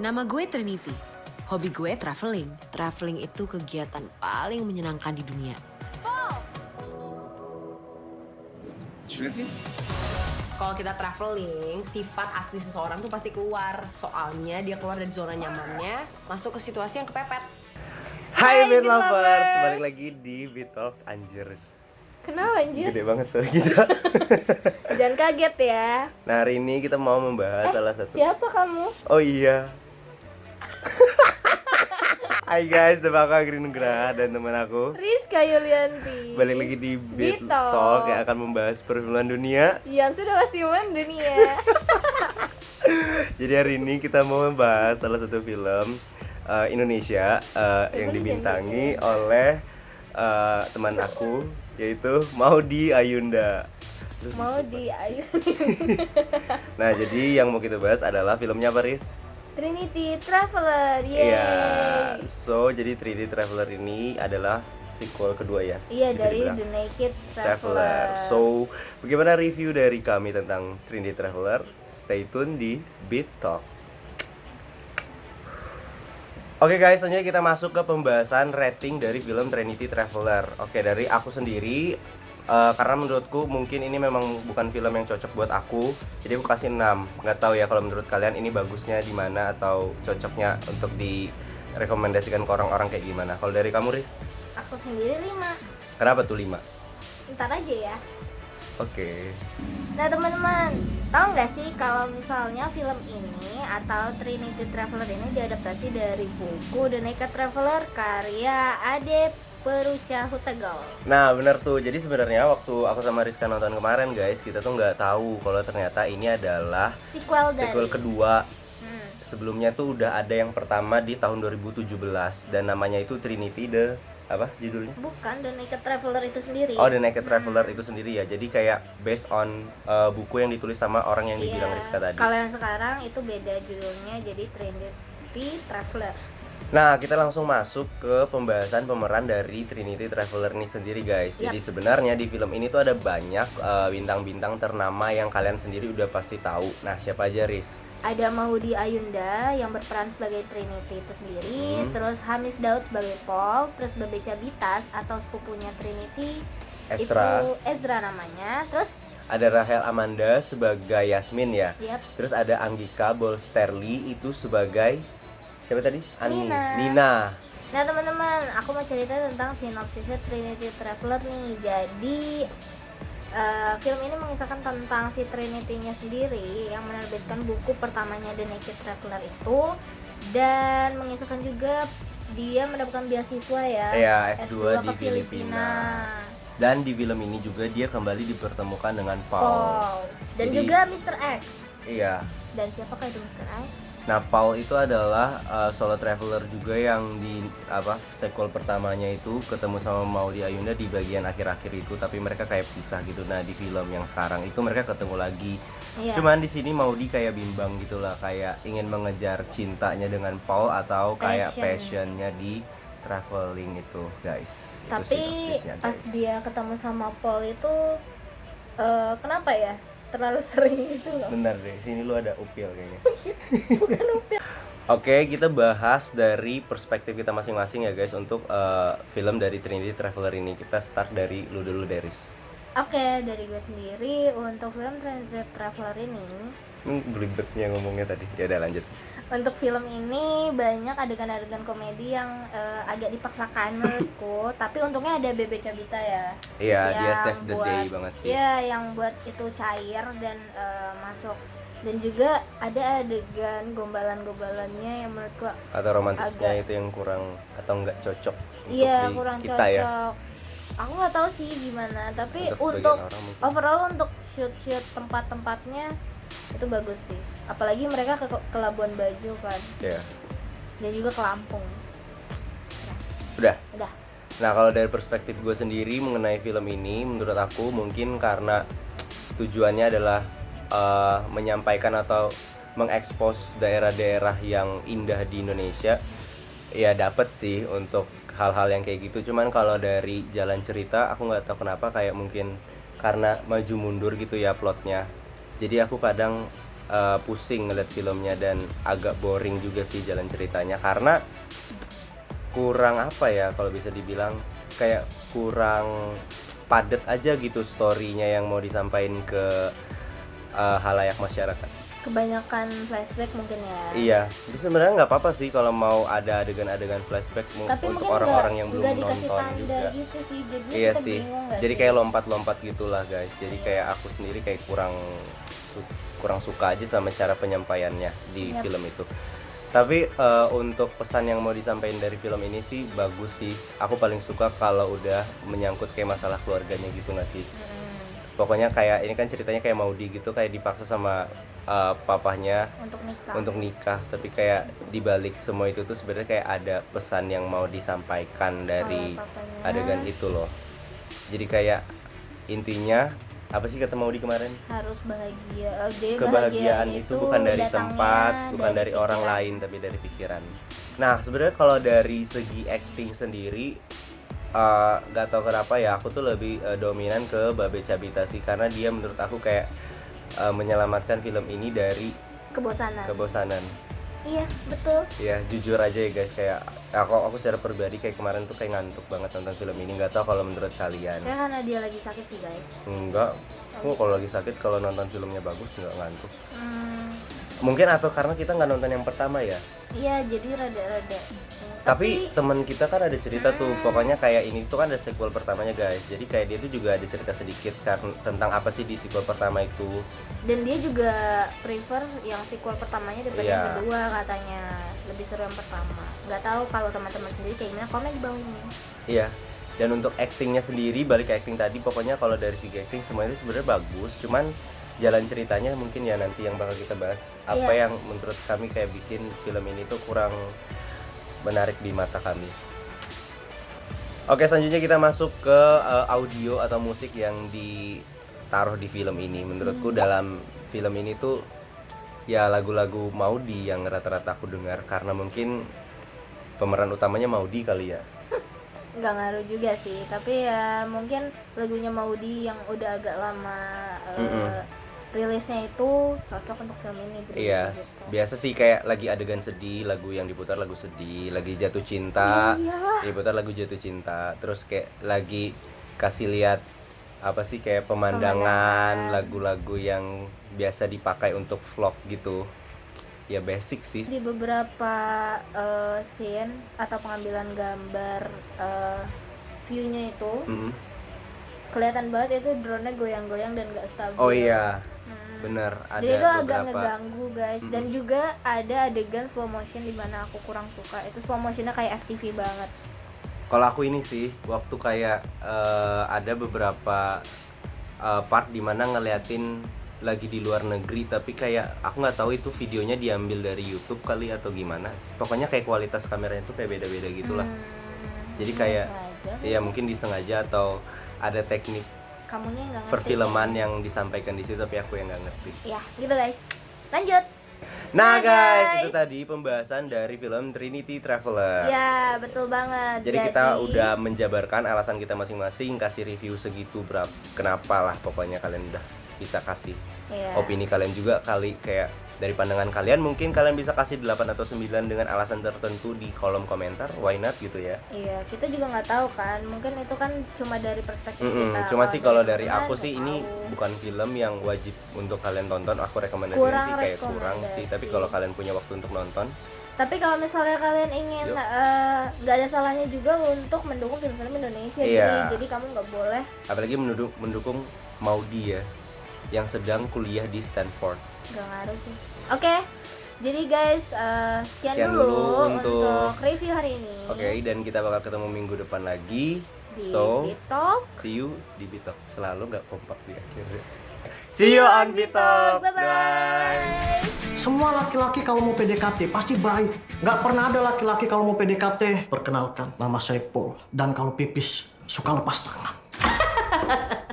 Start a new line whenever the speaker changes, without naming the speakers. Nama gue Trinity. Hobi gue traveling.
Traveling itu kegiatan paling menyenangkan di dunia.
Trinity?
Kalau kita traveling, sifat asli seseorang tuh pasti keluar. Soalnya dia keluar dari zona nyamannya, masuk ke situasi yang kepepet.
Hai Beat
Beat
lovers.
Lovers.
balik lagi di Beat Talk Anjir.
Kenapa anjir?
Gede banget suara kita.
Jangan kaget ya.
nah, hari ini kita mau membahas salah satu.
Siapa kamu?
Oh iya. Hai guys, nama aku Green Nugraha dan teman aku.
Rizka Yulianti.
Balik lagi di Beat
Beat
Talk. ya.
Talk
yang akan membahas perfilman dunia.
Yang sudah pasti mendunia.
Jadi hari ini kita mau membahas salah satu film eh, Indonesia eh, yang dibintangi oleh eh, teman aku yaitu Maudi Ayunda. Terus
Mau di Ayu
Nah, jadi yang mau kita bahas adalah filmnya apa, Riz?
Trinity Traveler. Yeay.
Iya. So, jadi 3D Traveler ini adalah sequel kedua ya?
Iya,
Bisa
dari
dibilang.
The Naked Traveler.
Traveler. So, bagaimana review dari kami tentang 3D Traveler? Stay tune di Beat Talk. Oke guys, selanjutnya kita masuk ke pembahasan rating dari film Trinity Traveler. Oke, dari aku sendiri eh, karena menurutku mungkin ini memang bukan film yang cocok buat aku. Jadi aku kasih 6. Nggak tahu ya kalau menurut kalian ini bagusnya di mana atau cocoknya untuk direkomendasikan ke orang-orang kayak gimana. Kalau dari kamu, Riz,
Aku sendiri 5.
kenapa tuh 5? Oke.
Ntar aja ya. Nah teman-teman, tahu nggak sih kalau misalnya film ini atau Trinity Traveler ini diadaptasi dari buku The Naked Traveler karya Ade Peruca Hutagol.
Nah bener tuh, jadi sebenarnya waktu aku sama Rizka nonton kemarin guys Kita tuh nggak tahu kalau ternyata ini adalah
Sequel dari.
sequel kedua
Hmm.
Sebelumnya tuh udah ada yang pertama di tahun 2017 Dan namanya itu Trinity The... apa judulnya?
Bukan The Naked Traveler itu sendiri.
Oh The Naked Traveler itu sendiri ya Jadi kayak based on uh, buku yang ditulis sama orang yang dibilang
Iya.
Rizka tadi
Kalau yang sekarang itu beda judulnya jadi Trinity Traveler.
Nah, kita langsung masuk ke pembahasan pemeran dari Trinity Traveler ini sendiri, guys.
Yap.
Jadi sebenarnya di film ini tuh ada banyak eh, bintang-bintang ternama yang kalian sendiri udah pasti tahu. Nah, siapa aja, Riz?
Ada Maudi Ayunda yang berperan sebagai Trinity itu sendiri,
Hmm.
terus Hamis Daud sebagai Paul, terus Bebeca Bitas atau sepupunya Trinity
Ezra.
itu Ezra namanya, terus
Ada Rahel Amanda sebagai Yasmin ya.
yap
Terus ada Anggika Bolsterli itu sebagai siapa tadi? Ani.
Nina.
Nina.
Nah teman-teman, aku mau cerita tentang sinopsisnya Trinity Traveler nih. Jadi eh, film ini mengisahkan tentang si Trinity-nya sendiri yang menerbitkan buku pertamanya The Naked Traveler itu dan mengisahkan juga dia mendapatkan beasiswa ya.
Ya, S2
ke
di Filipina. Dan di film ini juga dia kembali dipertemukan dengan Paul.
Wow. Dan
Jadi-
juga Mr. X.
Iya.
Dan siapakah itu Mr. X?
Nah, Paul itu adalah uh, solo traveler juga yang di apa sequel pertamanya itu ketemu sama Maudi Ayunda di bagian akhir-akhir itu, tapi mereka kayak pisah gitu. Nah, di film yang sekarang itu mereka ketemu lagi.
Iya.
Cuman di sini Maudi kayak bimbang gitulah, kayak ingin mengejar cintanya dengan Paul atau kayak
Passion.
passionnya di traveling itu, guys. Itu
tapi
sinopsisnya,
pas
ya, guys.
dia ketemu sama Paul itu eh, kenapa ya terlalu sering gitu loh
Bener deh, sini lu ada upil kayaknya. Oke, kita bahas dari perspektif kita masing-masing ya guys untuk eh, film dari Trinity Traveler ini. Kita start dari lu dulu Deris.
oke dari gue sendiri untuk film Transit Traveler ini
Hmm, belibetnya ngomongnya tadi. Ya udah lanjut.
untuk film ini banyak adegan-adegan komedi yang eh, agak dipaksakan menurutku tapi untungnya ada Bebe Cabita ya
Iya, dia
Yang
save the
buat-
day banget sih.
Iya, yang buat itu cair dan eh, masuk dan juga ada adegan gombalan-gombalannya yang menurutku
Atau romantisnya
Agak.
itu yang kurang atau nggak cocok untuk
Iya
di
kurang
kita
cocok.
ya.
Aku nggak tahu sih gimana, tapi
Untuk sebagian
untuk,
orang mungkin.
overall untuk shoot-shoot tempat-tempatnya itu bagus sih. Apalagi mereka ke, ke Labuan Bajo kan,
Ya.
dan juga ke Lampung.
Udah.
Udah.
Nah kalau dari perspektif gue sendiri mengenai film ini, menurut aku mungkin karena tujuannya adalah eh, menyampaikan atau mengekspos daerah-daerah yang indah di Indonesia ya dapet sih untuk hal-hal yang kayak gitu cuman kalau dari jalan cerita aku nggak tahu kenapa kayak mungkin karena maju mundur gitu ya plotnya jadi aku kadang eh, pusing ngeliat filmnya dan agak boring juga sih jalan ceritanya karena kurang apa ya kalau bisa dibilang kayak kurang padat aja gitu storynya yang mau disampaikan ke eh, halayak masyarakat
kebanyakan flashback mungkin ya
Iya, itu sebenarnya nggak apa-apa sih kalau mau ada adegan-adegan flashback mu-
tapi
untuk
mungkin
orang-orang
nggak-
yang belum
nggak
nonton
dikasih tanda
juga.
gitu sih jadi
Iya
kita
sih.
bingung nggak
Jadi
sih?
kayak lompat-lompat gitulah guys. Jadi kayak aku sendiri kayak kurang su- kurang suka aja sama cara penyampaiannya di
Yap.
film itu. Tapi eh, untuk pesan yang mau disampaikan dari film ini sih bagus sih. Aku paling suka kalau udah menyangkut kayak masalah keluarganya gitu nggak sih?
Mm,
Pokoknya kayak ini kan ceritanya kayak Maudi gitu kayak dipaksa sama eh, papahnya
untuk nikah
untuk nikah tapi kayak dibalik semua itu tuh sebenarnya kayak ada pesan yang mau disampaikan dari
papanya.
adegan itu loh jadi kayak intinya apa sih kata Maudi kemarin
harus bahagia Eh, jadi
kebahagiaan itu, bukan dari
datangnya
tempat bukan dari, orang
pikiran.
lain tapi dari pikiran nah sebenarnya kalau dari segi acting sendiri eh, nggak tahu kenapa ya aku tuh lebih eh, dominan ke Babe Cabita sih karena dia menurut aku kayak eh, menyelamatkan film ini dari
kebosanan
kebosanan
iya betul
ya jujur aja ya guys kayak aku aku secara pribadi kayak kemarin tuh kayak ngantuk banget nonton film ini nggak tahu kalau menurut kalian
ya karena dia lagi sakit sih guys
enggak aku kalau lagi sakit kalau nonton filmnya bagus nggak ngantuk
Hmm,
mungkin atau karena kita nggak nonton yang pertama ya
iya jadi rada-rada
tapi teman kita kan ada cerita tuh pokoknya kayak ini tuh kan ada sequel pertamanya guys jadi kayak dia tuh juga ada cerita sedikit kan tentang apa sih di sequel pertama itu
dan dia juga prefer yang sequel pertamanya daripada
Iya.
yang kedua katanya lebih seru yang pertama nggak tahu kalau teman-teman sendiri kayak gimana komen di bawah ini
Iya. Dan untuk actingnya sendiri balik ke acting tadi pokoknya kalau dari segi acting semua itu sebenarnya bagus, cuman jalan ceritanya mungkin ya nanti yang bakal kita bahas apa
Iya.
yang menurut kami kayak bikin film ini tuh kurang menarik di mata kami. Oke, selanjutnya kita masuk ke eh, audio atau musik yang ditaruh di film ini. Menurutku dalam film ini tuh ya lagu-lagu Maudi yang rata-rata aku dengar karena mungkin pemeran utamanya Maudi kali ya.
nggak ngaruh juga sih tapi ya mungkin lagunya Maudi yang udah agak lama eh,
Mm-mm.
rilisnya itu cocok untuk film ini gitu.
Iya, s- biasa sih kayak lagi adegan sedih, lagu yang diputar lagu sedih, lagi jatuh cinta,
Iyalah.
diputar lagu jatuh cinta, terus kayak lagi kasih lihat apa sih kayak pemandangan,
Pemandangan.
lagu-lagu yang biasa dipakai untuk vlog gitu. Ya basic sih.
di beberapa eh, scene atau pengambilan gambar eh, view-nya itu
Mm-mm.
kelihatan banget itu drone-nya goyang-goyang dan gak stabil.
Oh iya,
Hmm.
bener ada
Jadi itu agak
beberapa.
ngeganggu guys dan
Mm-mm.
juga ada adegan slow motion di mana aku kurang suka. Itu slow motionnya kayak FTV banget.
Kalau aku ini sih waktu kayak eh, ada beberapa eh, part dimana ngeliatin lagi di luar negeri tapi kayak aku nggak tahu itu videonya diambil dari YouTube kali atau gimana. Pokoknya kayak kualitas kameranya itu kayak beda-beda gitulah.
Hmm,
Jadi
ini
kayak-
sengaja.
Ya mungkin disengaja atau ada teknik
kamunya nggak ngerti.
perfilman yang disampaikan di situ tapi aku yang nggak ngerti.
Ya, gitu guys. Lanjut.
Nah
Nah,
guys,
guys.
itu tadi pembahasan dari film Trinity Traveler.
Ya, betul banget.
Iya. Jadi kita udah menjabarkan alasan kita masing-masing, kasih review segitu berapa, kenapa lah pokoknya kalian udah bisa kasih
Iya.
opini kalian juga kali kayak dari pandangan kalian mungkin kalian bisa kasih 8 atau 9 dengan alasan tertentu di kolom komentar why not gitu ya
Iya, kita juga nggak tahu kan. Mungkin itu kan cuma dari perspektif
Mm-mm.
kita.
cuma
Kalau
sih kalau dari
teman-teman
aku
nggak
sih ini
tahu.
bukan film yang wajib untuk kalian tonton aku rekomendasi
Kurang
sih kayak kurang sih
rekomendasi.
tapi kalau kalian punya waktu untuk nonton
Tapi kalau misalnya kalian ingin
Yuk.
eh, nggak ada salahnya juga untuk mendukung film-film Indonesia
Iya.
jadi, jadi kamu nggak boleh
apalagi mendukung mendukung Maudi ya yang sedang kuliah di Stanford
nggak ngaruh sih. Oke. Jadi guys, eh, sekian,
Sekian
dulu,
dulu
untuk...
untuk-
review hari ini.
Oke, dan kita bakal ketemu minggu depan lagi.
Di
so,
Bitok.
see you di Bitok. Selalu nggak kompak di akhir. See you on Bitok.
Bye bye.
Semua laki-laki kalau mau PDKT pasti baik. Nggak pernah ada laki-laki kalau mau PDKT. Perkenalkan, nama saya Paul. Dan kalau pipis, suka lepas tangan.